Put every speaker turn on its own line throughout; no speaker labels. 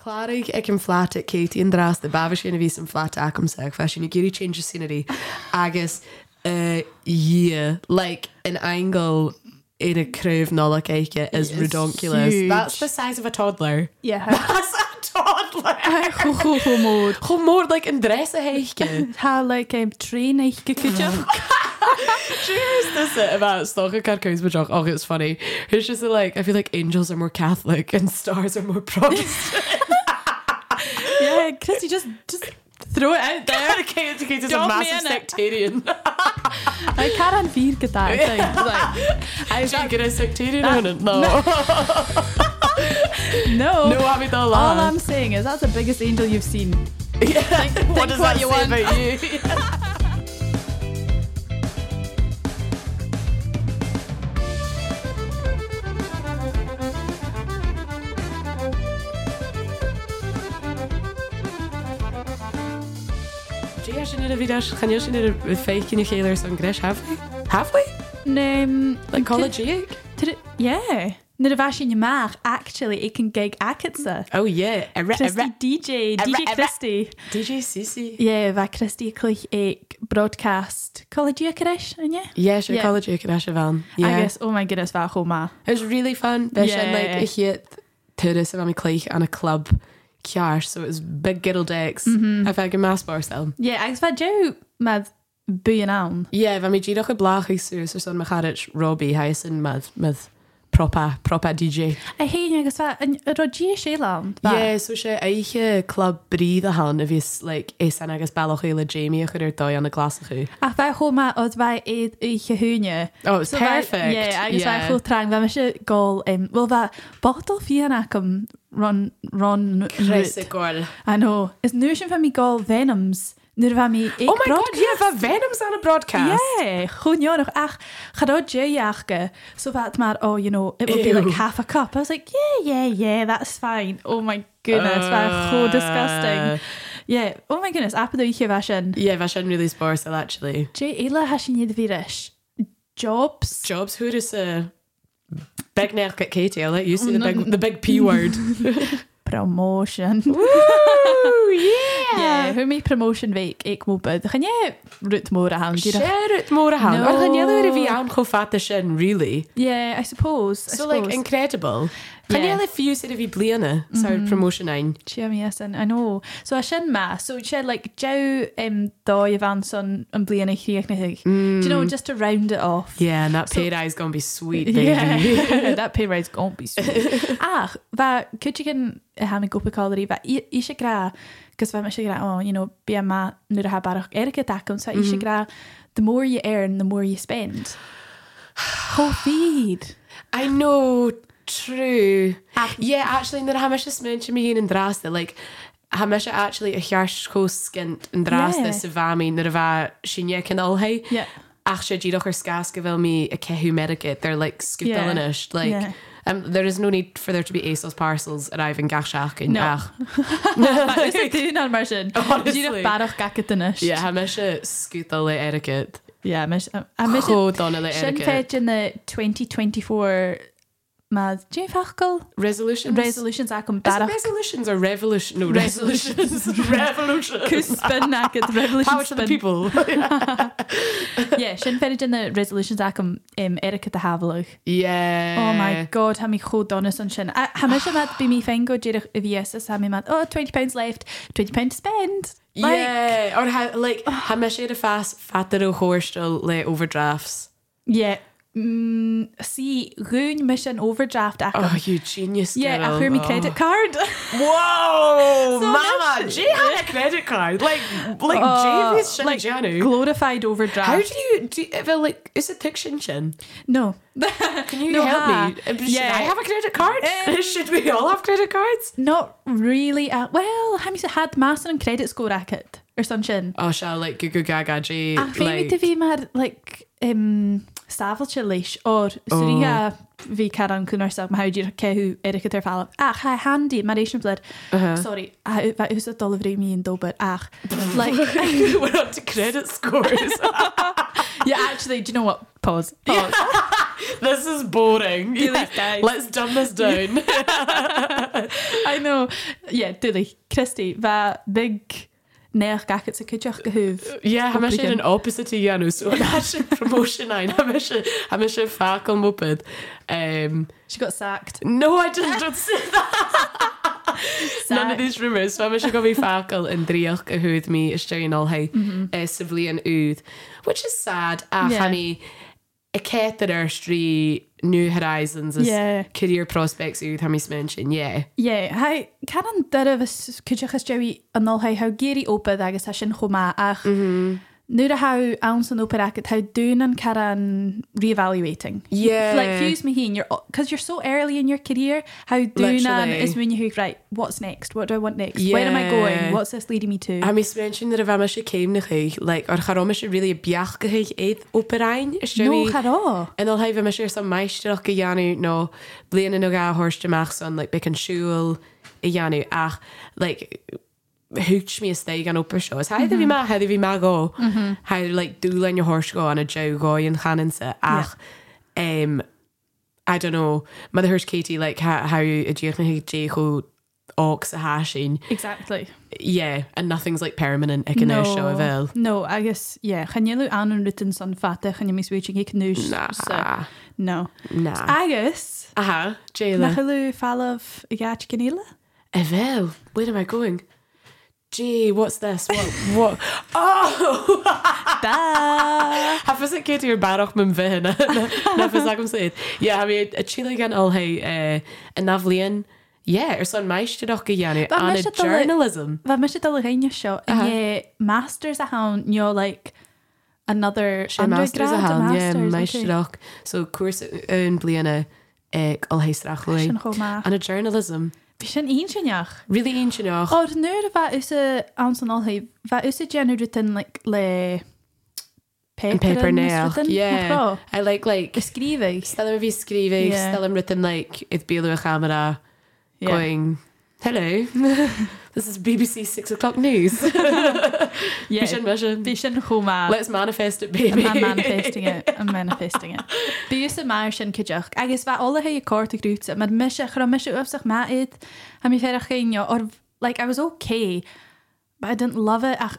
Chláigh ag an flaat céit on drás de babha sin a bhís an flaat acham seach fe sin gurí change scenery agus dhí le an angle ina cruh nála éice is redonculous.
That's the size of a toddler.
Yeah.
That's a toddler.
Chomód.
Chom mór le an dress a héice.
Tá le um, trí na gocuteach.
That's it about stalker cartoons, which oh, it's funny. It's just like I feel like angels are more Catholic and stars are more Protestant.
Yeah, Christy, just just throw it out there.
okay, it's, okay, it's
Don't
a massive
mean it.
sectarian.
I can't feed get that thing.
I
Like,
should get a sectarian on it. No,
I, no.
no, I'm the
All I'm
last.
saying is that's the biggest angel you've seen.
What does
what
that
you
say
want.
about you? Dé sin a bhí chaine sin ar féiccinna chéir san gréis hafla? Hafla?
Um,
Le college?
Did it, yeah. Nid a bhaisi ni mar, actually, it can gig acatsa.
Oh yeah, a re- a
Christy
re-
DJ, DJ
ra-
Christy.
DJ CC.
Yeah, va Christy clich ag broadcast. College acarish, and yeah.
Yeah, sure,
Yeah.
college academic van.
I
Yeah.
guess, oh my goodness, va homa.
It was really fun. They yeah. said
Yeah.
like a hit tourists around my clique and a club car, so it was big girdle decks. Mm-hmm. I felt a mass bar cell.
Yeah, agus va jo mad buin an.
Yeah, if I'm a Gino Blach, I saw son Macharich, Robbie, Hyson, Mad, Mad, proper, proper DJ.
I hate agus va an rogia shelan.
Yeah, so she, I club breathe a hand if he's like, a san agus balachila Jamie, a chur doi on a glass of who.
Ach va homa os va eid i chehúne.
Oh, it was so perfect.
Bheit- Yeah, agus yeah. chul trang bheit me se gá um, bhfuil bheit botal fianana go run run
Christ, girl.
I know. Is nu sin fe mi gá venoms nuair bheit mi
Oh my god, yeah, but Venom's on a broadcast.
Yeah, chuneoch ach chadó déheachcha so bheit mar oh you know it would be
Ew.
like half a cup. I was like yeah yeah yeah that's fine. Oh my goodness, uh,
Eh.
so disgusting. Yeah, oh my goodness, appadú i bheit sin.
Yeah, but I shouldn't really spar cell actually.
Dé éile has sin iad bhíris. Jobs
jobs who uh, is a big neck at Katie I'll let eh? you
Oh,
see the big the big P word
promotion. Oh,
yeah
hu mé promotion veik ik mo bud gan je rut mór a han
share it more how
No.
no. gan jy weer wie aan go vat is in really
yeah I suppose
so like incredible e kan jy
Yeah. Mm-hmm.
hulle few sit wie blene so promotion ein
yes and I know so a sin ma so sé like jo um dó a van son an blian a chríach na hiig do you
Mm.
know just to round it off
yeah and that
So-
paid eye is gonna be sweet baby yeah.
yeah that pay raise gon be sweet. ach va could you gin a ha me gopa calorí va i se gra gus va me se gra oh you know be ma nu a ha barach erige dacom so i
Mm-hmm.
se gra the more you earn the more you spend Ho feed.
I know true
Um,
yeah actually na hamish is mention me in draste like hamish actually a hiarsko skint in draste
Yeah.
savami na va shinye kan all hey
Yeah.
ach sé ddíadch ar scaca bhfuil mí a ceú medicate they're like
Yeah.
scoopis like
Yeah.
yeah. um, there is no need for there to be ASOS parcels at Ivan Gashaach in
No.
ach
Is it doing on Martian?
Honestly.
Did you barach gacatinish?
yeah ha me se scoúta le etiquette
Yeah, mish, I, I miss it.
chodóna le
Shin
etiquette
Fed in the 2024 mad Jane Fachkel
resolutions
resolutions I can
Is it
barach
resolutions or revolution no resolutions revolution
spin nack at the revolution
power to the
spin.
people
Yeah, Shin Fed in the resolutions I can um, Erica the Havelock.
yeah
Oh my god, ha mi chod donas an sin. I- Ah, Ha mis mad be mi fengo jirach if yes is ha mi mad oh 20 pounds left, 20 pounds to spend. Like,
yeah or ha like ha me sé a fast fatar ó hóirstal le overdrafts
Yeah. Mm, see, rún mis an overdraft ac.
oh you genius
Yeah,
girl.
I hear me
oh.
credit card.
Whoa,
So
Mama,
much-
Jay had a credit card. Like, like
Uh,
uh, Jay is
like
Shinjanu.
glorified overdraft.
How do you do? You, well, like, is it Tick Shin Shin?
No.
Can you
No,
help
ha.
me? Uh, Should
Yeah. Um,
I have a credit card? Should we all have credit cards?
Not really. Uh, well, how many had master and credit score racket or something?
Oh, shall like Goo Goo Gaga Jay?
I think to be mad like um Stafelcha leish or Surya vi Karan Kunarsag Mahaudir Kehu Erika Terfalov. Ach, hi handy, Maration Blood. Sorry, I was a delivery me in Dobert. Ach, like,
we're up to credit scores.
yeah, actually, do you know what? Pause. Pause.
this is boring.
these guys.
Let's dumb this down.
I know. Yeah, duly. Christy, va big neach gacket sa cúteach go húh.
Yeah, ha mis
Obligan.
an opposite to Janú sin promotion ein ha mis sin fa moped. Um,
She got sacked.
no, I just don't say None of
Sacked.
these rumours fe mis go bhí facail an dríoch a thuúd mí isteún allthe sa bblion úd, uh, which is sad Ah, a
Mm-hmm. Yeah.
fanní i cétar ar trí New Horizons is
Yeah.
career prospects úd ha mis men sin, yeah.
Yeah, hi. Can an dara vis cúteach is dewi an nol hi how geary opa agus ha sin choma ach.
Mhm.
Mm-hmm. Nuair a how ounce an opa racket how dún an caran reevaluating.
Yeah.
Like fuse me here, because you're so early in your career. How dún an
Literally.
is when you think, right, what's next? What do I want next? Where am I
Yeah.
going? What's this leading me to?
A mis men sin ar a bheit se céim na chuig, le ar charrá se ri beach go chuig éiad opráin
no, chara.
En al hefur mér sér sem meisteach í janu nó blian in aga horsteach san like, becan siúil i janu ach like, húts mí a steig an opera show. Heidir vi ma heidir vi ma go heidir like, dúlein jo hors go an a jo goi an chaninsa ach yeah. um, I don't know mother hurst Katie like how, how a dieachna décho ox a hasin
Exactly.
yeah and nothing's like permanent ag an no. show a vel.
No, agus, yeah, chan ilu anwn rytyn son fata, chan i mis wychig i cnwys.
Nah.
So, no.
Na.
Agus,
Aha,
nach
Ah, uh-huh. Jayla.
ilu falaf i gach gan ila?
Evel, where am I going? Gee, what's this? What? what? Oh!
Da!
Have is it Katie or Barach Mim Vihin? Naf is agam said. Yeah, I mean, a Chile gan all hey, uh, a Navlian. Yeah, or son Maish to Doc Yanni,
But
and
mis
a
het al uit-
journalism.
Fa mis ydol y rhain sio,
Uh-huh.
yn ie masters a hawn, nio, like, another
She masters a
undergrad,
hand, yeah, Maish
masters,
to
okay.
Doc. So, course in Bliana, ag all hey
Sy'n
Strachley.
chwma.
And a journalism.
Fi sy'n un sy'n iach.
Really ancient, oh.
O'r nŵr fa ysa awns yn ôl hi, fa ysa gen rytyn, like, le...
And paper
yn
nail.
ysrytyn,
Yeah.
athro.
I like, like,
Ysgrifau.
Stel yn fi sgrifig,
Yeah.
yeah. stel yn written like, idd bylw y camera,
Yeah.
going, hello, this is BBC Six O'Clock News.
Yeah.
Vision, vision.
Vision choma.
Let's manifest it,
I'm
baby.
manifesting it. I'm manifesting it. Bí ús a mar sin cydioch. Agus fa ola hei a cort y grwt. Mae'r mysio, chro mysio wfsach ma id. A mi fer acheinio. Or, like, I was okay. But I didn't love it. Ach,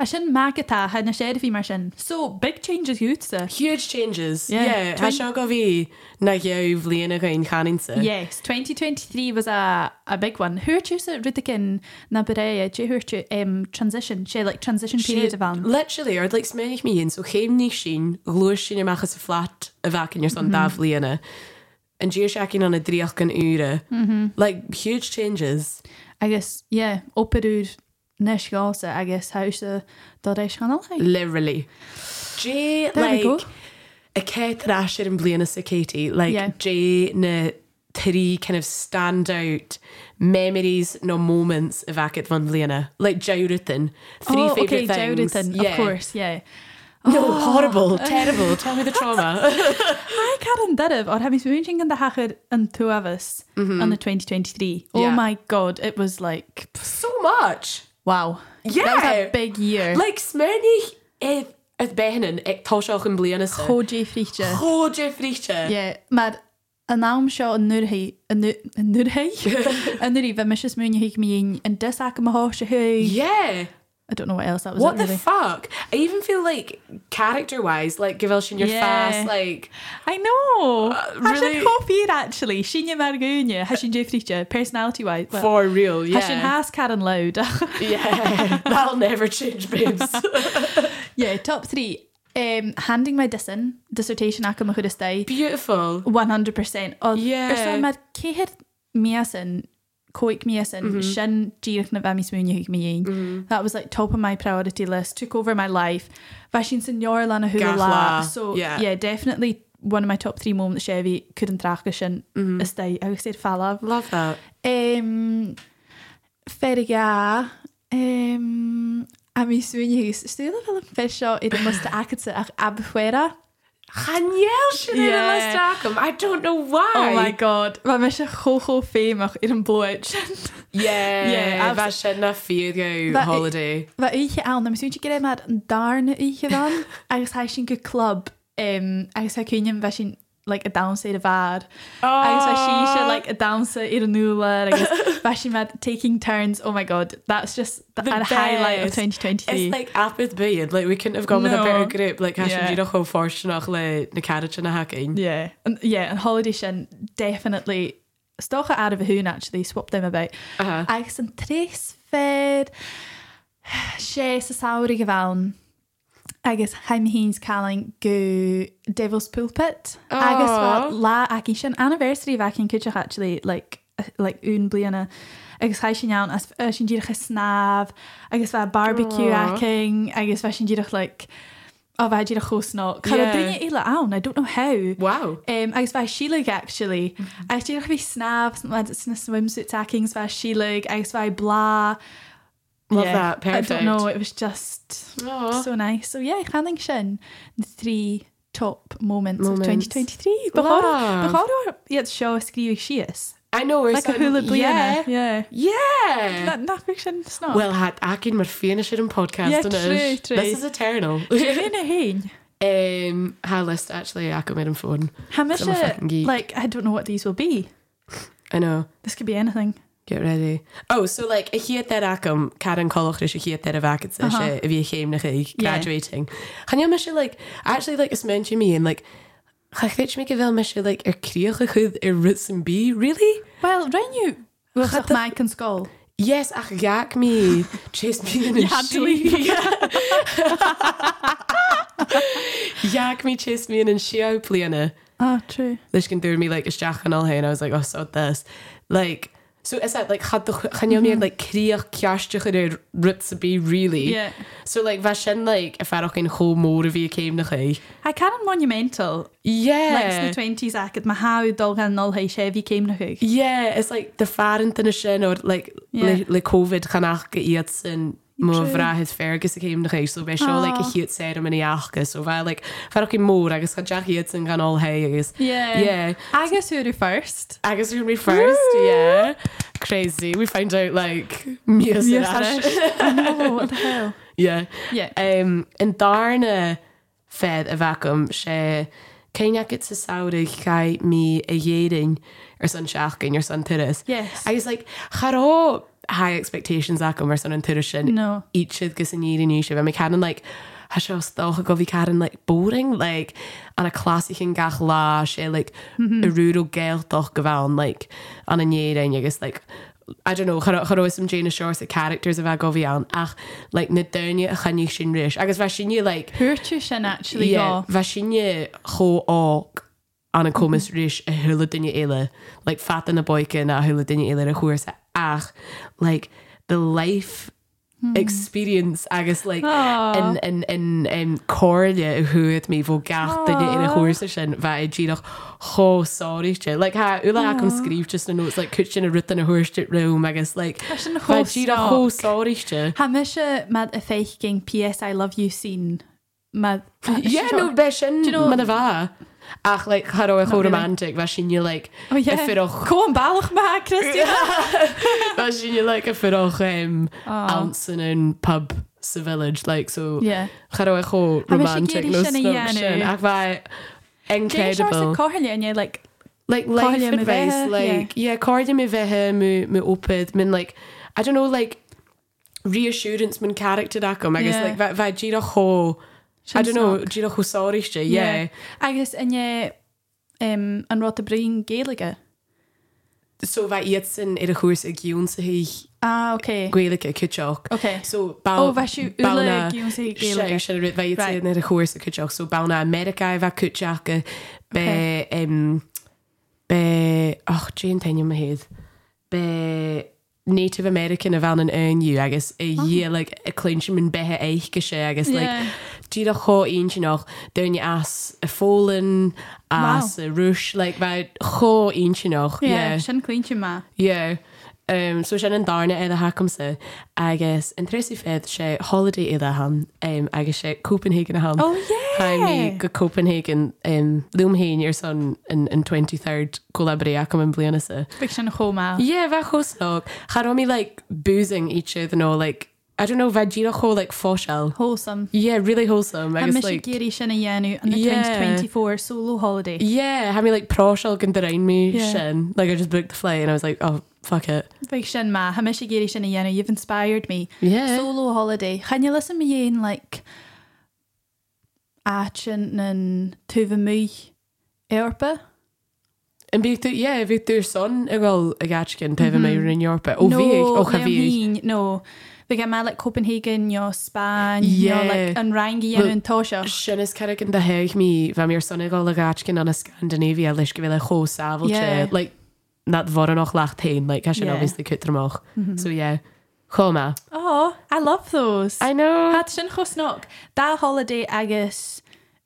A sin ma gyda, hyn a sedd fi mar sin. So, big changes yw't sy.
Huge changes.
Yeah,
Yeah,
twin-
ha sio go fi na giew flin ag ein canin sy.
Yes, 2023 was a, a big one. Hwyrtiws y rydygyn na byrau a hwyrtiw um, transition, she like transition period of an.
Literally, or like smenig mi un, so cheim ni sin, glwyr sin ym achos y flat y fac yn yr son
Mhm.
da flin yna. And Gio Shakin on a driach gan ure.
Mhm.
Like, huge changes.
I guess, yeah, operwyd nes gosa, I guess, haws y dod eich ganol.
Literally. Jay,
There we
like,
go.
a Kate Rasher and Blaina Sakati, like,
Yeah.
Jay, na three kind of standout memories, no moments of Akit von Blaina. Like, Jowrithan. Three
oh,
favorite
okay,
things.
Jowdithin, of course, Oh. yeah.
No, horrible, terrible. Tell me the trauma.
I Karen Dyrif, or have you been watching in the Hachid and two of us on the 2023? Oh
Mm-hmm. Yeah.
my god, it was like, pff,
so much.
wow. That was
Yeah.
a big year.
Like, eh, Smirny, if, if Behanan, ek Toshoch and Blaina Sakati.
Hoji Fritia.
Oh, Jeffrey. Yeah.
Yeah, maar een naam show een nurhi, een nu- een nurhi, een nurhi. We missen smoen je hik me in en dus ik me hoosje hui.
Yeah.
I don't know what else that was.
What
it
the
really.
fuck? I even feel like character wise, like Gavilshin, you're
Yeah.
fast, like
I know. Has
really-
she hope here actually? She knew Margunia. Has she Jeffrey personality wise? Well,
for real, yeah.
Has she has Karen Loud?
yeah. That'll never change, babes.
yeah, top three. Um, handing my dissin dissertation ac yma chwyd ysdau.
Beautiful.
100%. Oedd
Yeah.
Yrsa mae'r ceir miasyn, coic miasyn, mm -hmm. sin díirich na bheith smúne hiig mion. That was like top of my priority list, took over my life. Bheit sin sin leor lena hula la.
Gathla,
So yeah.
yeah.
yeah, definitely one of my top three moments Chevy couldn't track sin mm -hmm. is day. I would say falaf.
Love that.
Um, Ferriga, Um, a mí súnigus stúla fel an fisio i d musta acate ach abfuera.
Haniel should
Yeah.
I don't know why.
Oh my god, Wa me se chocho féach ar an bloid sin.
Yeah,
Yeah,
yeah. I've had enough for you to go
But-
holiday.
Wa ihe an am súnte gré mar an darne ihe van agus ha sin go club um, agus ha cúnim bheit sin like, a downsa a bhar. agus bheit sí se like, a dansa ar an nula agus bheit sin mad taking turns. Oh my god, that's just the,
The
the highlight of
best.
2023.
It's like Apeth Bay, and like we couldn't have gone with a better
No.
grip. Like, Hashem,
Yeah.
you know how fortunate like the carriage and a hacking.
Yeah, and yeah, and holiday sin definitely stocha out of a hoon actually swap them about.
Uh-huh.
Agus an tres fed sé sa saoir go bhán. Agus haim híns calling go Devil's Pulpit. Agus
Aw.
bhá lá aici sin anniversary bhacin cúteach actually like uh, like ún bliana. Agus ha sin an as uh, sin díirecha snáb, agus bheit barbecue
Aw.
acing, agus bheit sin díireach like a bheit díireach chósná. Cad
Yeah.
duine ile ann, I don't know how.
Wow.
Um, agus bheit síleg actually.
Mm-hmm.
Agus dtíach bhí snab sna swimsuit tackings bheit síleg agus bheit blá.
Love that.
I
Perfect. Oh.
don't know, it was just
Aw.
so nice. So yeah, channing sin the three top moments,
Moments.
of 2023.
Love.
Bechá iad seo scríú sios.
I know we're
Like a
starting-
hula
Yeah.
bliana. Yeah.
Yeah.
Na fiction sná.
Well, had Akin were finishing in podcast,
Yeah,
and
true,
it?
true.
This is eternal.
na hain.
um, her list actually, I could made him phone.
How much
I'm a fucking geek.
like I don't know what these will be.
I know.
This could be anything.
Get ready. Oh, so like if you had that acum, Karen Collach is you had that vacancy
Uh-huh.
if you came to
Yeah.
graduating. And you miss like actually like it's mentioned me and like Chach weet me wel mis je like er kreeg goed er roots and be really?
Well, Renu was
Gaat
at Mike and Skull.
Yes, ach gaak me chase me in a she. Jaak me chase me in and she out plena.
Oh, true.
Lish can do me like is jack and all hey and I was like oh so this like so is that like had the can you mean
Mm-hmm.
like kreeg kjastje er roots and be really?
Yeah.
So like was sin like if ar cin chomór bhí céim nach chi?
Hy can yn monumental. Like
Yeah.
sna 20s ac yd mae haw dol gan nol hei sef i ceim na chwg.
yeah, it's like the farint in a sin or like
Yeah.
le, le COVID gan ach go iad sin
True.
móhrá his fergus a céim nach chi, so bheit seo like a
Aw.
hiad ceremony achgus, so bheit like fer cin mór agus chu deach iad sin gan all hei agus.
Yeah.
Yeah.
Agus hwyr yw first.
Agus we first,
Woo!
yeah. Crazy. We found out like music.
Yes, I know, Oh, what the hell.
Yeah.
Yeah.
Um, in darne fed a vacuum sé céineach it sa saoraigh cai mí a dhéing ar san seaachcinn ar san turas.
Yes.
Agus like, charó high expectations acu mar san an turas sin
No.
iad siad gus an iad inníisi bh mé canan like, ha seo stácha go bhí caran like, boring like, an a clásicin gach lá sé like, mm -hmm. a rúdó gaaltoch go bhán like, an an éing agus like, I don't know choró sem Jane Shore a characters a bheith go bhí an ach like, na daine a chaní sin ris agus bheit sinne like,
Hwyr tu sy'n actually
yeah,
go.
bheit sinne cho ách an a
Mhm.
commas ris a thula duine eile like, fat an na boicin a thula duine eile a chuairsa ach like, the life experience agus like
Hmm. Aw.
in in in um cóide thuúad mí bhó gacht duine ina
Aw.
chóirsa sin bheit i ddíach cho sáirte like ha ula ac an scríb just na nós like cúin a rutan na thuiriste room agus like
Tá sin
bheit
chó
ddíach
stoc.
cho sáirte
Ha mis y mad y feich gen PS I love you scene. Mad. nou,
yeah no bheit sin
you know-
man a bha ach like charó a
Not
cho
really.
romantic bheit sin like
Oh yeah.
a firoch
Go on balach ma, Christian.
bheit sin like a firoch um
Oh.
ounce in an pub sa village like so
Yeah.
Charo e cho
A bheith sé
romantic
géirí
no
sin i
smoke
dhéanamh.
sin ac mae
Jane Shor's a
incredible.
coherl and you're like,
Like life
Coilíon a
advice,
bheith,
like yeah, cardi me vehe mu mu oped min like I don't know like reassurance min character acum I guess
Yeah.
like va va gira ho I
Sin
don't know gira ho sorry shte yeah
Agus yn ie um, yn rot y brin gaeliga.
so va ietsin ir a chwrs a gion sa hi
Ah, okay.
gwelik a kuchok
Okay.
so
Oh,
bau
fe siw yle
Balna-
gyw'n sy'n
Sé
gaeliga.
sé ri bheit
Right.
na a chóir a cuteach so bana America bheit cuteachcha be
Okay.
em, be och Jane teine a héad be Native American a bhe an aniu agus i
Oh.
dhé le a cléintse mun bethe éich go sé agus le
Yeah.
tí a cho aon sin nach duine as a fólan eh, as a rúis le bheit cho aon sin nach
Yeah, sin clín ti ma.
yeah. Um, so sin an darna é hacamsa agus an tríí fed sé holiday é ham um, agus sé Copenhagen a ham.
Oh, yeah.
Haimí go Copenhagen um, Loomhain ar san an, an 23rd collaboréachcham an blianasa.
Fi sin chomá.
Yeah, bheit chósnog. Chará mí like boozing each other no like I don't know bheit dína cho like fósel.
Wholesome.
Yeah, really wholesome. I
And
guess
Michigan
like
Geary sinna dhéanú an
Yeah.
2024 solo holiday.
yeah, ha mí like prosel gan dein me
Yeah.
sin. Like I just booked the flight and I was like, oh fuck it.
Big sin ma, ha Michigan Geary sinna dhéanú, you've inspired me.
Yeah.
Solo holiday. Can you listen me in like Achin and Tuvamui Erpa?
En bíú é bhí tú son a bhil a gacin tah mé in Europa ó bhí ó
Mhm. no,
chahí
Leonin, no. Big mal like Copenhagen, your Spain,
Yeah.
yeah. your like Unrangi
Well,
and Tosha.
Sin is cead an de heich mí bheit mé son gáil a gacin an na Scandinavia leis go bhfuile cho
Yeah.
sáhailte le na bhar nach lecht tain le sin
Yeah.
agus de cutramach
Mhm.
so é chomá.
Oh, I love those.
I know
Had sin chosnok. That holiday agus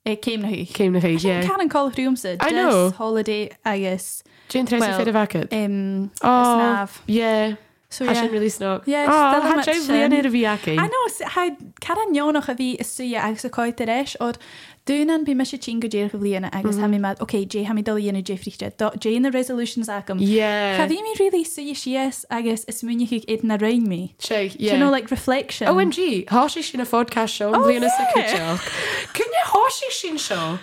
it came na hu.
céim na féige
Canon Call of Doomsa.
I know.
holiday agus
Jean tre
Well,
fé a bhacad
um
á
Snav.
é
So yeah.
sin Oh, really snog Oh,
Yeah, just tell them it's sin.
blianana a
um, I
bhíace
know s- ha cara neonach a bhí is suúa agus a coid éis ó dúnan bí me sé tí go déir go bblionana agus
Mm-hmm.
ha mad Ok dé ha mi dul dhéanana Jeffreyte Jane na resolutions agam. Cha
yeah
bhí mi rilí suú sias agus is muúniú éad na rain mi.
Shake,
Do you know
yeah. Oh,
like reflection?
OMG, háisi sin na fodcast seo an blianana sa
yeah.
cuteach. Cynne háisi sin seo.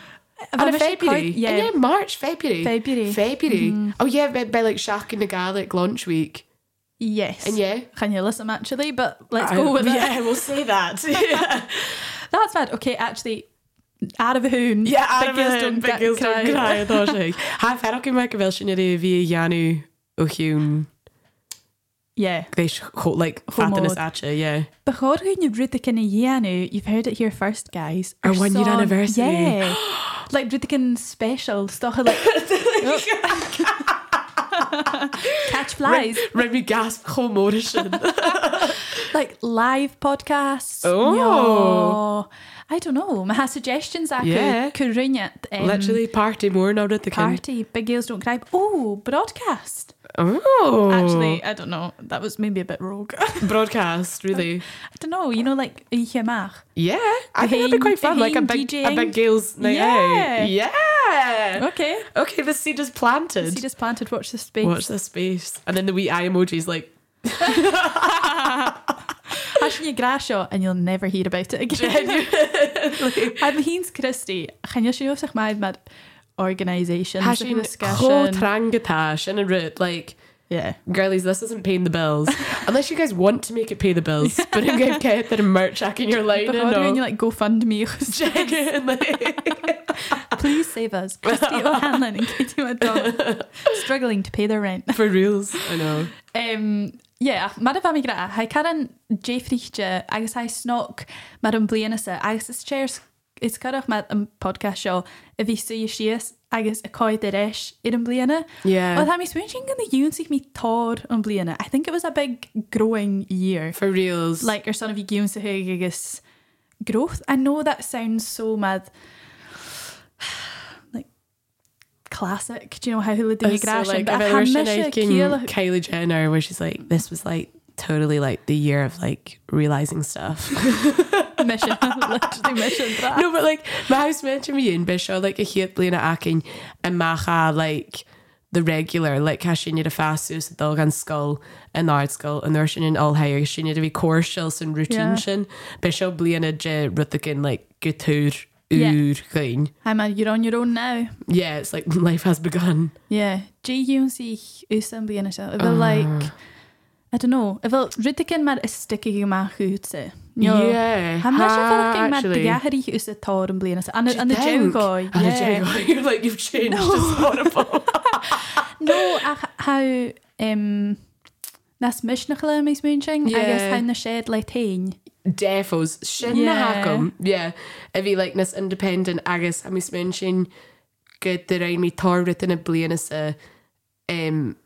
Bhí
Yn
me
y
sé
February?
coid- yeah.
Yeah, March, February.
February.
February. Oh, yeah, by, by like Shaq and the Garlic lunch week.
Yes.
And yeah.
Can you listen actually? But let's
I-
go with it.
Yeah, we'll say that. yeah,
That's bad. Okay, actually, out of a hoon.
I've
Biggest
been
don't
biggest
cry.
don't cry, I thought she. I've had a good amount of version of the Yanu O'Hune.
Yeah.
They sh- ho- like fat in
Homo.
his atcha, yeah.
Bechod hun you've read the kind of Yanu, you've heard it here first, guys.
Our one-year anniversary.
Yeah. like read the kind special stuff like Catch flies.
Remy gasp homorishin.
Like live podcasts.
Oh.
Yeah. I don't know. My suggestions I
Yeah.
could ring it. um,
Literally party more now that the kin.
Party, Big Girls Don't Cry. Oh, broadcast.
Oh.
Actually, I don't know. That was maybe a bit rogue. I
Broadcast, really.
don't know. You know, like Ichemach.
Yeah. I think that'd be
Behind-
quite fun. Like a
behind
big, a
DJing.
big girls' night out. Yeah.
Okay.
Okay, the seed is planted.
See just planted. Watch the space.
Watch the space. And then the wee eye emoji is like,
Passion your grass shot and you'll never hear about it again. I'm Heens Christie. Can you show us my mad organisations?
passion,
discussion?
trangatash, and a root. Like,
Yeah.
girlies, this isn't paying the bills. Unless you guys want to make it pay the bills. But I'm going to get that merch hack in your line.
But how do you like GoFundMe? Please save us, Christy O'Hanlon and Katie McDonald, struggling to pay their rent.
For reals. I know.
Um, yeah, mar a bheith mé gra ha caran défrichte agus ha snog mar an blianasa agus is chairs is carach mar an podcast seo a bhí suú sios agus a coid ar eis ar an bliana.
Yeah.
Well, ha mi swin sin gan na dún sich mi tór an bliana. I think it was a big growing year.
For reals.
Like ar son a bhí gún sa huig agus growth. I know that sounds so mad like classic. Do you know how hula
Uh,
do you grash?
so, like, I've had Kylie Jenner, where she's like, this was like totally like the year of like realizing stuff.
mission literally mission no.
no, but like my house mate to me in Bishaw, like a hit Lena Akin and Macha, like the regular, like Hashinia de Fasus, the Dolgan Skull, and Nard Skull, and Nurshin and all higher, Hashinia to be core shills and
Yeah.
routine shin, Bishaw Blina J Ruthakin, like Gutur,
Yeah.
Ur, Kain.
Hi man you're on your own now
Yeah, it's like life has begun.
yeah G Yoon sich usan bí se bfu like
Ah.
I don't know I bfu rikin mar is sticky má chuútse
Yeah,
Ha me
ha,
mar
actually.
gaí ús a tá an bliana an
Do you
an na
think?
deáid
And the Jago, you're like, you've changed. It's horrible.
No a ch- how um nas mis nach le mé smúing
Yeah.
agus ha na séad le tein
Defos, sin na
Yeah.
hacum. Yeah. A bhí like nas independent agus a mis mún sin go de rain mi tarrit in a blianas a um,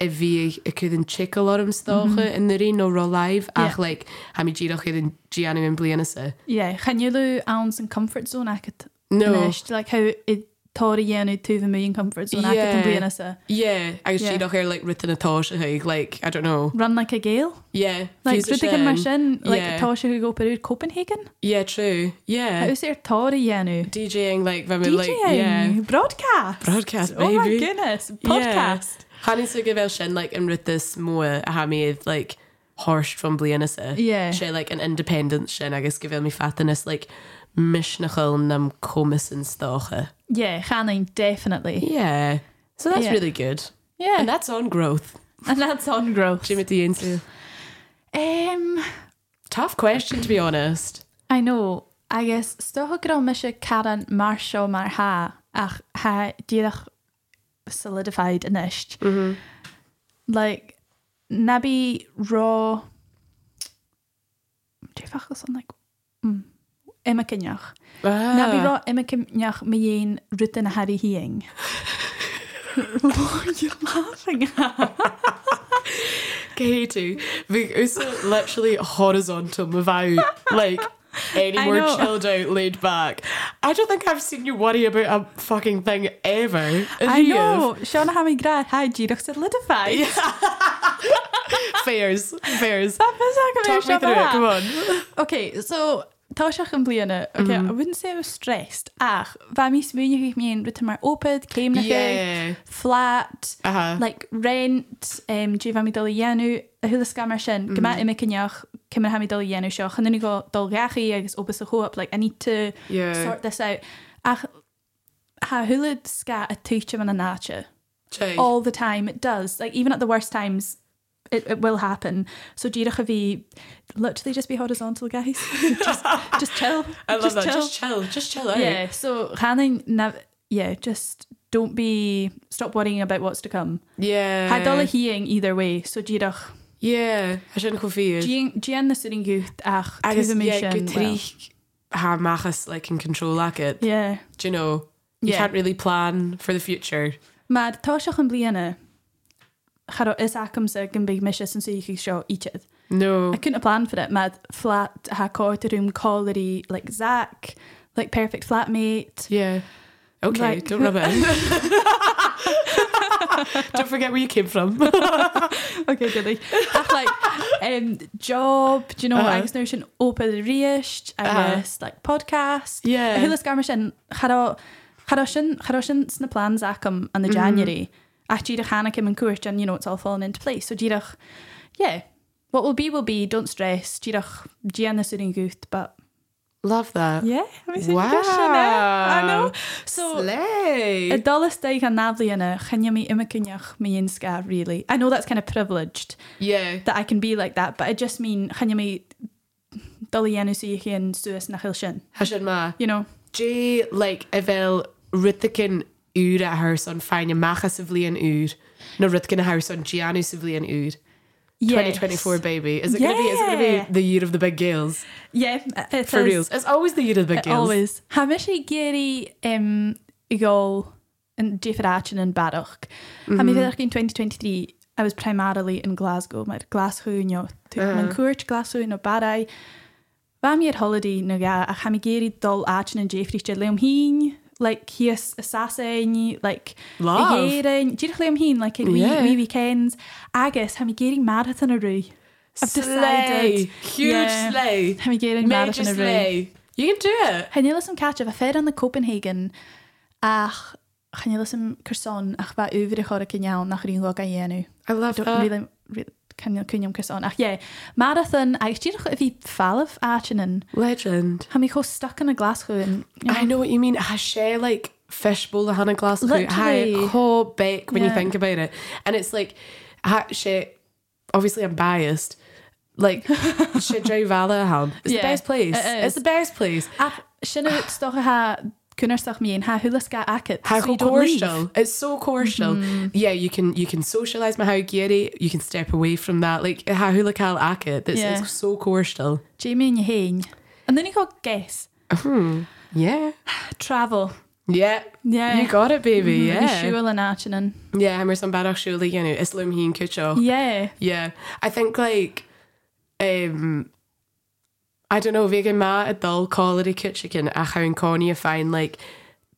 a bhí a chud an chickle orm stácha in the rain no raw live ach
Yeah.
like ha mi gírach chud an gianna in blianas a.
yeah chan you lu an an comfort zone agat
No.
Nish, like how it tá dhéanú tú bh mé comfort zone yeah.
Yeah.
an bliana sa
Yeah, agus
Yeah.
siad ó chéir le rutain atá a chuig, like, I don't know.
ranna a géal
Yeah. fuse a
Like, mar
sin.
sin
Yeah.
letá se go peú Copenhagen
Yeah, true. Yeah.
Hús ar tá dhéanú
DJing, like, when we like, yeah.
DJ broadcast
Broadcast,
Oh my
baby.
goodness podcast
Hannig so gyfer sin like yn rythus mwy a ha mi like horst from Blianasa.
Yeah.
She like an independent sin agus gyfer mi fathanis er, like um, mishnachol nam comus yn stocha.
yeah Channing definitely
Yeah. So that's
Yeah.
really good. And
yeah
that's on growth.
and that's on growth
Jimmy the into.
um
Tough question to be honest.
I know agus stochagur me se caran mar seo mar ha ach ha díadach solidified inis
Mhm.
like nabí rá défachas an like mm, imime cinneach
Ah.
Na bí rá imime cinneach mé dhéon ruta na Harry hiing. Lord, you're laughing.
Katie, we also literally horizontal without like any
I
more
know.
chilled out, laid back. I don't think I've seen you worry about a fucking thing ever. And
I
you
know Seánna ha mé gra ha ddíach solidified.
have. Fairs, fairs.
Tá fis acu mé
Talk me through
seo
it.
mar
Come
ha.
on.
Okay, so tá seach an bliana
Mm-hmm.
okay, mm -hmm. I wouldn't say I was stressed ach bheit mí smúne go mion ruta mar opad céim na
Yeah.
flat
Uh huh.
like rent um, dé bheit mi dul dhéanú a thula sca mar sin go
Mm-hmm.
mai imime cinneach cimar ha mi dul dhéanú seo chunig go dul gachaí agus opas a choop like I need to
Yeah.
sort this out ach ha thula sca a tuite man na náte
Check.
all the time. It does. Like even at the worst times, it, it will happen. So Jirach Avi, literally just be horizontal, guys. just, just chill.
I love
just
that.
Chill.
Just chill. Just chill eh? out.
yeah. So Hanning, nav- yeah, just don't be. Stop worrying about what's to come.
Yeah.
Had all hearing either way. So Jirach,
Yeah. I shouldn't go for you.
Gian the sitting youth, ach,
I guess yeah, good
tuirimh mé sin, well.
three. Ha machas like in control like it.
Yeah.
Do you know? You
Yeah.
can't really plan for the future.
Maar tá seach an bliana. Charo is acum sa gan big mishes and so you can show each other.
No.
I couldn't have planned for it. Mad flat, ha quarter room, colliery, like Zach, like perfect flatmate.
Yeah. Okay,
Like-
don't rub it in. don't forget where you came from.
Okay, goodly. Ach, like um, job, do you know,
Uh-huh.
I was notion open riist,
Uh-huh.
I was like podcast.
Yeah.
Hula scarmishin, charo, charoshin, charoshin, sna plan Zachum and the January. Ach, jirach hanakim and kurch, and you know, it's all falling into place. So jirach, yeah. What will be will be, don't stress. Jirach, gian the suiting goot, but
Love that.
yeah, I was I know.
Wow.
So
Slay.
Y dolus deg a naflu yna, chynio mi yma cyniach mi yn sgar, really. I know that's kind of privileged,
yeah.
that I can be like that, but I just mean chynio mi dolu yna sy'n chi yn sŵas na chael sin,
Hashan ma.
you know?
J like evel Rithikin úr a house on fine macha sivli an úr. No Rithikin a house on Gianni sivli an úr.
Yes.
2024 baby. Is it gonna be is it gonna
Yeah.
be the year of the big gales?
Yeah, it
For
is.
reals. It's always the year of the big
It
gales.
always. Ha mis i geri um, i gol yn Jefferachin yn Barwch. Mm -hmm. A mi fyddech chi'n 2023, I was primarily in Glasgow. Mae'r Glasgow yn yw. Mae'n cwrt Glasgow yn o barau. Fa mi ar holiday nhw ga, a ha mi geri dol achin yn Jeffrey sydd leom hyn. Like, hi ys asasen, like,
Love.
i geirin. Dwi'n leom hyn, like, yn
Yeah.
yeah. wee weekends. Agus, ha mi geri marathon a rwy. I've
Slay.
decided.
Huge
Yeah.
slay.
Ha mi geri
Major
marathon a rwy.
slay. You can do it.
Channelas some catch of a fair in the Copenhagen ach channelas some croissant ach ba over a cynnal nach rin go gan yenu.
I love
Don't really really cynnal cynnal croissant ach yeah. Marathon I actually if he falf archinen.
Legend.
Ha mi go stuck in a Glasgow and you
I know what you mean. I share like fishbowl of Hannah Glass Literally. I
Literally.
caught back when you
Yeah.
think about it. And it's like I share obviously I'm biased. Like share Joe Valla ham. It's
Yeah,
the best place.
it
It's the best place.
ach sinna stoch ha cynnerstach mi yn ha hwlasga acet.
How
so you don't leave. Mm-hmm.
cordial. It's so cordial. Yeah, you can you can socialise my how giri, you can step away from that. Like how hulakal akit. That's
Yeah.
it's so cordial.
Jamie yn hen. And then you go guess.
Yeah.
Travel.
Yeah.
Yeah. Mm-hmm.
You got it, baby. Yeah.
Shul and archinen.
Yeah, I'm some bad actually, you know, Islam Heen Kucho.
Yeah.
Yeah, I think like, um, I don't know. Vegan ma a dull quality kitchen a how in corny you find like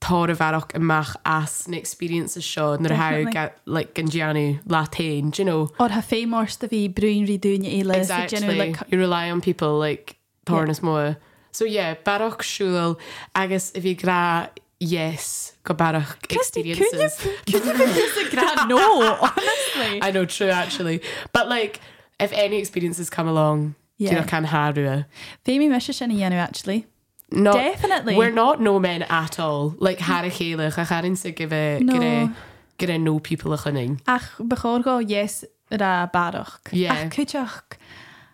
tóra bharach an meach as na experiences seo nar
Definitely.
ha le ganjianú látain, do you know?
Or ha fémórsta bhí brún rí dúine eile so, you know,
exactly.
like,
you rely on people like
Yeah.
Tornas Moore. So yeah, Barach Shul, agus if you gra yes, go Barach
Christy, could you-
experiences.
could you put this in grand? No, honestly.
I know, true actually. But like if any experiences come along, yeah. you
Yeah.
know, can harua.
Fémi me sin dhéanú actually.
Not,
Definitely.
We're not no men at all. Like Harry Halech, I can't say give a
No.
no. get a no people a chinning.
Ach beáá yes ra barach.
Yeah.
Ach chuteach.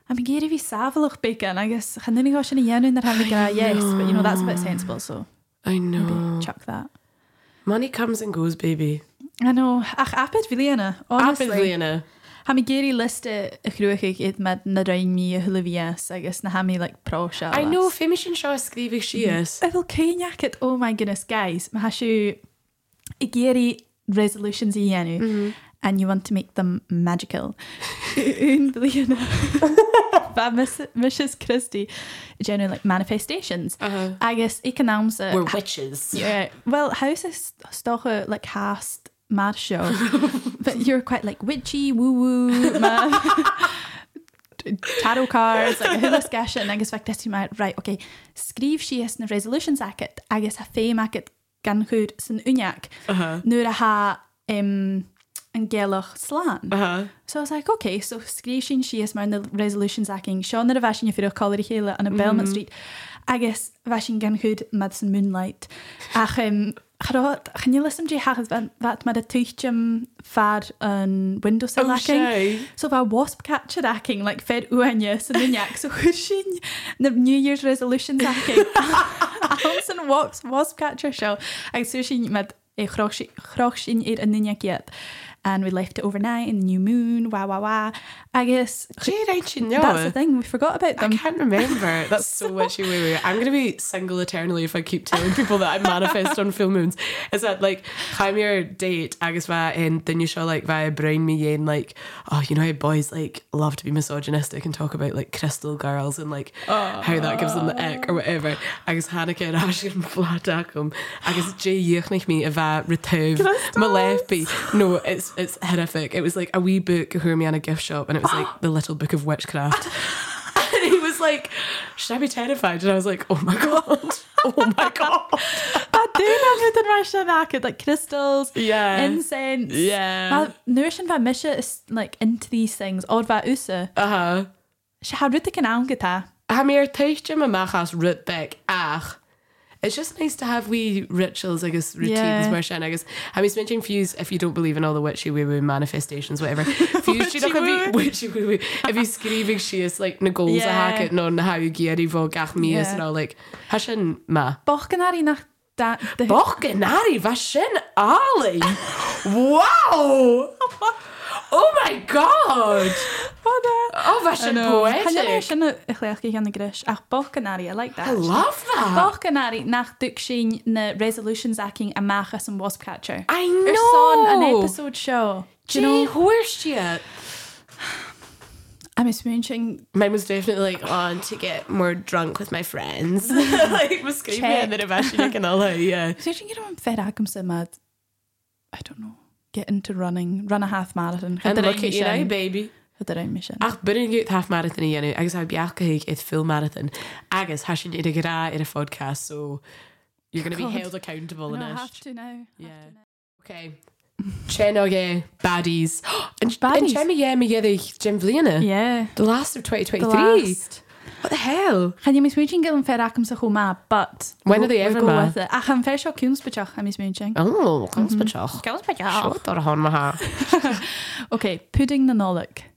Am géir bhí sáfalach bacon agus chaninigá sinna dhéanú ar ha gra yes, but you know that's a bit sensible so
I know.
chuck that.
Money comes and goes, baby.
I know ach apid bhíléana
Honestly,
honestly.
Lena.
Ha mi géirí liste a chhrúchaigh iad me na rain mí a thulivías agus na haí le pró se.
I know, Femish and Shaw Screevy she is.
I bhfuil céineach it ó mai gonas oh guys má siú i géirí resolutions i dhéanú
Mhm.
and you want to make them magical. Ún bliana Ba Mrs Christie generally like manifestations
Uh-huh.
agus i can
We're
námsa
witches.
Yeah. Well, how's this stocha like cast mad show? but you're quite like witchy, woo woo, man. tarot cards, like a hula sketch, and I guess like this you might right, okay, scríf si is na resolutions acket, agus a fé acket gan chud san uniac,
Uh-huh.
nuair a ha um, an gelach slán.
Uh-huh.
So I was like, okay, so screeching she is my resolutions acting. Sean that vashing if you're a color hela on a Belmont Street. I guess vashing gan hood Madison Moonlight. Ach um Hrot, can you listen to Hachas that mad a tuchum fad an
Oh,
windowsill acting? So if a wasp catcher acting like fed uanyas and nyak so hushin the New Year's resolutions acting. Alison walks wasp catcher show. I sushin mad eh, a chroshin ir an ninyakiat. And we left it overnight in the new moon, wah wah wah. I guess
Jade, don't you
that's the
know?
thing, we forgot about
I
them.
can't remember. That's so witchy woo woo. I'm gonna be single eternally if I keep telling people that I manifest on full moons. Is that like I'm your date, agus va and then you show like via brain me yen like oh you know how boys like love to be misogynistic and talk about like crystal girls and like how that gives them the ick or whatever. Agus Hanukkah and Ash and Flatakum. Agus J Yuchnich me va retove Malefi. No, it's it's horrific. It was like a wee book who me in a gift shop and it was like the little book of witchcraft. And he was like, Should I be terrified? And I was like, Oh my God. Oh my God.
I do remember the Russian market, like crystals,
Yeah.
incense.
yeah.
Well, Nourishin va Misha is like into these things. Or va Usa.
Uh huh.
She had Ruta can angata.
Ha meer teistje me magas rutbek ach. It's just nice to have wee rituals, I guess, routines
Yeah.
where shan, I guess. I mean, mentioning fuse if you don't believe in all the witchy woo woo manifestations, whatever. Fuse she
Witchy
don't be witchy woo woo. If you screaming she is like na goals a
Yeah.
hacket non how you geary vo gach me is
Yeah.
and all like hashin ma.
Bochanari nach da. da-
Bochanari vashin Ali. wow. Oh my god. Oh vashin
Hanna
poetic.
sinna i chléachcha gan na gris ach bochcanári, I like
I
that.
love that.
Bochcanári nach dúg sin na resolutions acting a machas an wasp catcher.
I
Ar son an
know.
episode show. Do
Do
you know?
horse yet?
I'm smooching.
Mine was definitely like on to get more drunk with my friends. like was screaming
Check.
and then eventually can all like, yeah.
Smooching get on fed acum so mad. I don't know. Get into running, run a half marathon.
And look at Ah, you now, baby.
Hyderaan mission.
Ach, bynnag yw'r half marathon i enw, agos ha'n biachig i'r full marathon. Agos, hasyn i'r gyda i'r podcast, so you're going to be
God.
held accountable in
I
it.
have to now.
Yeah. Okay. Chenoge baddies. and
Baddies?
Chenoge yeah, me yeah, the Jim Vlina.
Yeah.
The last of 2023.
The last.
What the hell?
Gaan jy mis moonching get on fed acum so ma, but
When are they
we'll
ever
go
ma?
with it. Ach, I'm fair sure kuns betach. I'm mis moonching.
Oh,
Mm-hmm.
comes mm -hmm.
Kuns betach.
Shot or hon maha.
Okay, pudding na nolik.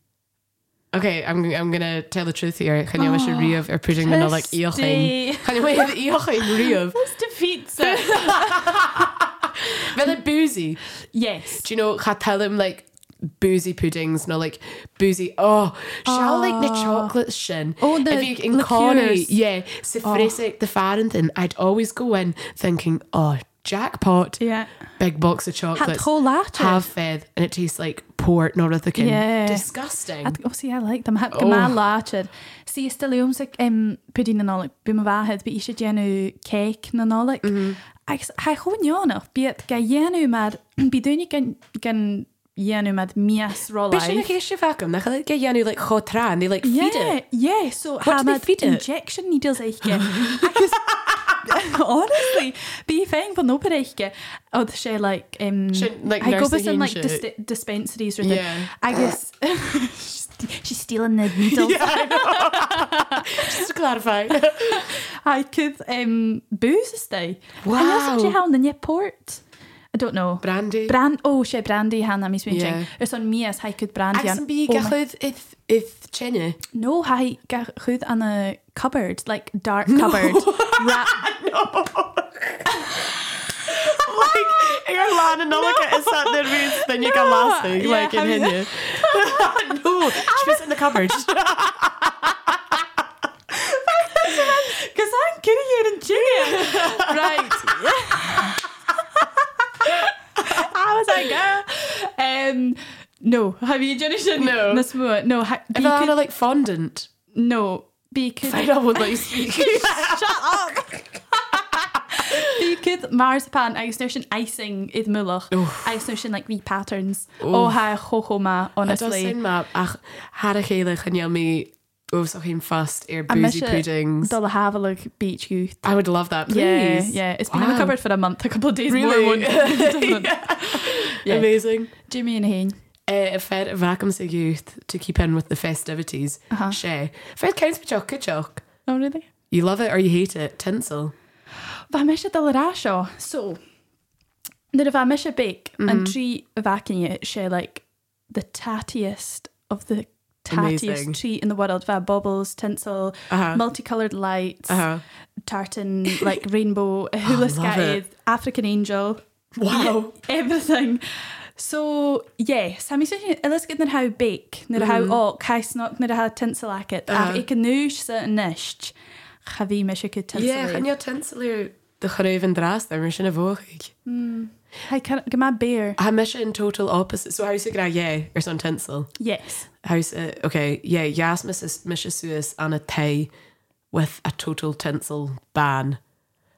Okay, I'm I'm gonna tell the truth here. Can you wish a riof or pudding the like eochain? Can you wish the eochain riof?
Who's defeats it?
But the boozy.
yes.
Do you know? I tell them like boozy puddings, no like boozy. Oh, shall like the chocolate shin.
Oh, the
if you in Corrie,
liqueurs.
yeah, so oh. the Farrington. I'd always go in thinking, oh, jackpot,
Yeah.
big box of chocolates.
whole lot.
have fed and it tastes like port North King.
Yeah.
Disgusting.
At, oh, see, I like them. Had gyma lachad.
Mm-hmm.
See, um, it's still yw'n sig um, pudding na nolik. Bwym y fahad, but eisiau genu cake na nolik. agus ha chun jónach bíad ga dhéanú mar bí dúnig gan dhéanú mar mías
Bishin a
rolla.
geisio facum, na chael gael ianw like chod tra, and they like feed
Yeah,
it.
yeah. So
do they
had
feed it?
injection needles eiche. Honestly, bí féin fan nópa eiche ó sé Oh, like um
Sin, like,
I go
nursing
bus in
home
like
shit.
dis- dispensaries or
Yeah.
agus she's stealing the needles.
Just to clarify.
I could um booze this day.
Wow.
Wow. how in the port. I don't know.
Brandy.
Brand ó sé brandy hanna mis
Yeah.
mé Ers an mías ha chud brand
Ac sy'n bi gachlydd ith, ith chenna.
Oh, No ha ga chud an a cupboard like dark cupboard Ra-
Like, ag ar lan yn olyg is that there is then you can last thing
Yeah,
like in
have you-
hynny. No, she was in the cupboard.
Cos I'm kidding you and chicken Right How was I go? Um, no have you Jenny
No.
na smú no ha, bí
If I had
could-
a like fondant,
no bí could-
I don't would like speak.
Bícid marsipan agus nuair sin icing iad mulach agus nuair sin like wee patterns ó ha
It
chochoma
does
honestly
seem map ach had a chéile yn iawn mi os o'ch oh, chi'n fast i'r
miss
boozy
it.
puddings.
Dul a havelag beach youth
I would love that,
yeah
please.
yeah it's been in
Wow.
the cupboard for a month a couple of days
Really?
more one yeah. yeah.
Amazing.
Jimmy and Hain
Uh, a fed vacuum sig youth to keep in with the festivities. Uh-huh. She. Fed counts pachock, kachock.
oh really
You love it or you hate it. Tinsel.
Bá me sé dorá seo so nuair a bheit me sé beic
Mhm.
an trí bhacinne sé like the tattiest of the
Amazing.
tattiest tree in the world bheit bubbles tinsel
Uh-huh.
multicolored lights
Uh-huh. Oh,
tartan like rainbow a hula
love
sky
it.
African angel
Wow.
everything so yeah Sammy illusgid nar ha beic nar ha ó caisnach nar a ha tinsel acet a
Mm-hmm. Uh-huh.
i canúis sa niist chahí me se go tinsel
Yeah, and your tinsel are the chreif and dras there, mission of ochig.
Hey, can, give my beer.
I mission in total opposite. So how's it gra yeah or some tinsel?
Yes.
How's it okay, yeah, yes Mrs Mrs Suis and a tay with a total tinsel ban.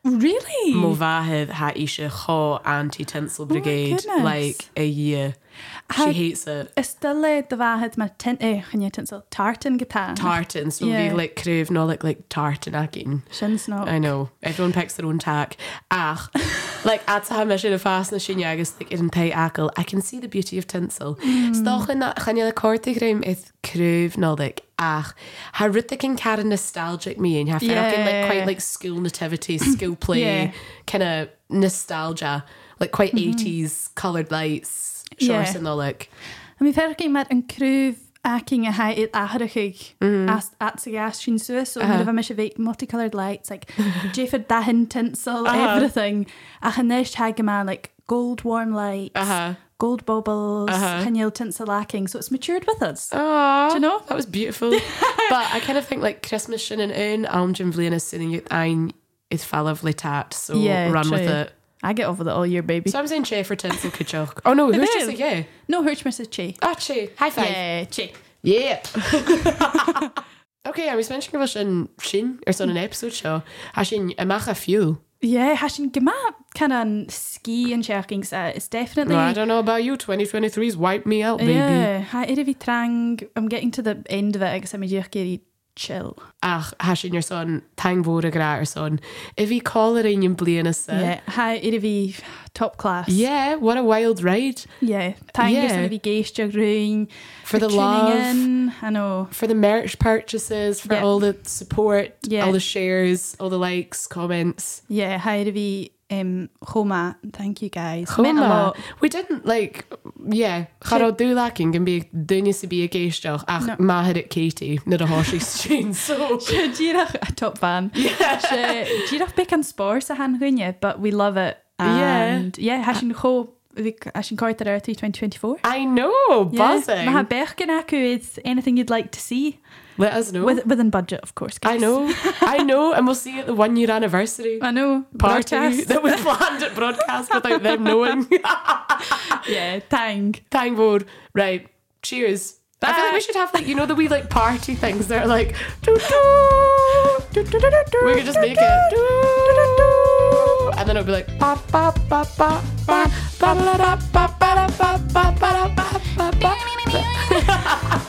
Really?
Mm. Movahid ha isha ho anti tinsel brigade
goodness.
like a year.
How-
She hates it.
Is dyle dy fahad mae tin... Eh, chynnu tinsel. Tartan gyda.
tartan. So yeah.
Yeah.
we like crave no like like tartan again.
Shin's not.
I know everyone picks their own tack. Ach, like at ha mission of fast na sin agus like in tai ackle. I can see the beauty of tinsel.
Mm.
Stoch in that can you like cortigraim is crave no like ach. Ha rithik and cara nostalgic me and have yeah. like
Yeah.
quite like school nativity, school play
Yeah. Mm-hmm.
kind of nostalgia. Like quite eighties coloured lights, shorts
Yeah.
and all like.
A mi fer gyn mae'r yn crwf acing a hai it ahrachig
Mm.
as at sig as sy'n sŵs. So, nid yfa mysio fe multicoloured lights, like Jafer dahin tinsel,
Uh-huh.
everything. A chynnysh hai gyma, er like gold warm lights,
Uh-huh.
gold baubles,
Uh-huh.
chynnyl tinsel lacking. So it's matured with us.
Aww,
Do you know?
That was beautiful. but I kind of think like Christmas sin and in Alm Jim Vlina sitting at ein is fall of litat, so
Yeah,
run with
true.
it.
I get over that all year, baby.
So I'm saying Che for Tinsel Kachok. Oh no, who's
is.
just like, yeah.
No, hwyrch Mrs. Chi.
Ah, Che. High five.
Yeah, Chi.
Yeah. okay, I was mentioning about in Shin or son an episode show. Hashin Amacha Few.
Yeah, hashin gyma kind of ski and checking set. It's definitely
No, I don't know about you. 2023's wiped me out, baby.
yeah. Ha irivi trang. I'm getting to the end of it. I guess I'm a chill.
Ach, Hashin your son, Tang Bora Gra or son. If he call it in your blina yeah.
Yeah, ha irivi top class.
yeah, what a wild ride.
yeah. Tang
Yeah.
yeah. irivi geisha green
For the love.
In. I know.
for the merch purchases, for
Yeah.
all the support,
Yeah.
all the shares, all the likes, comments.
Yeah, ha irivi um homa. Thank you guys. Meant a
Homa.
lot.
We didn't like, yeah. Charo do lacking can be dunya to be a geistach. Ach, ma had it Katie, not a hoshi strain. So
Girach a top fan. Yeah. Girach big and sports a han hunye, but we love it.
Yeah.
And yeah, hashin ho hashin coit ar 2024.
I know, buzzing.
Yeah, bergen acu is anything you'd like to see
Let us know.
with, within budget, of course. Guys.
I know, I know, and we'll see you at the one year anniversary.
I know.
Party
Broadcast.
that we planned at broadcast without them knowing.
yeah, tang.
Thank board. Right. Cheers. I feel like we
Bye.
should have like you know the wee like party things that are like doo doo. We could just make it. woo, and then it'll be like ba ba ba ba ba ba la da, ba ba da, ba ba ba da, ba ba ba ba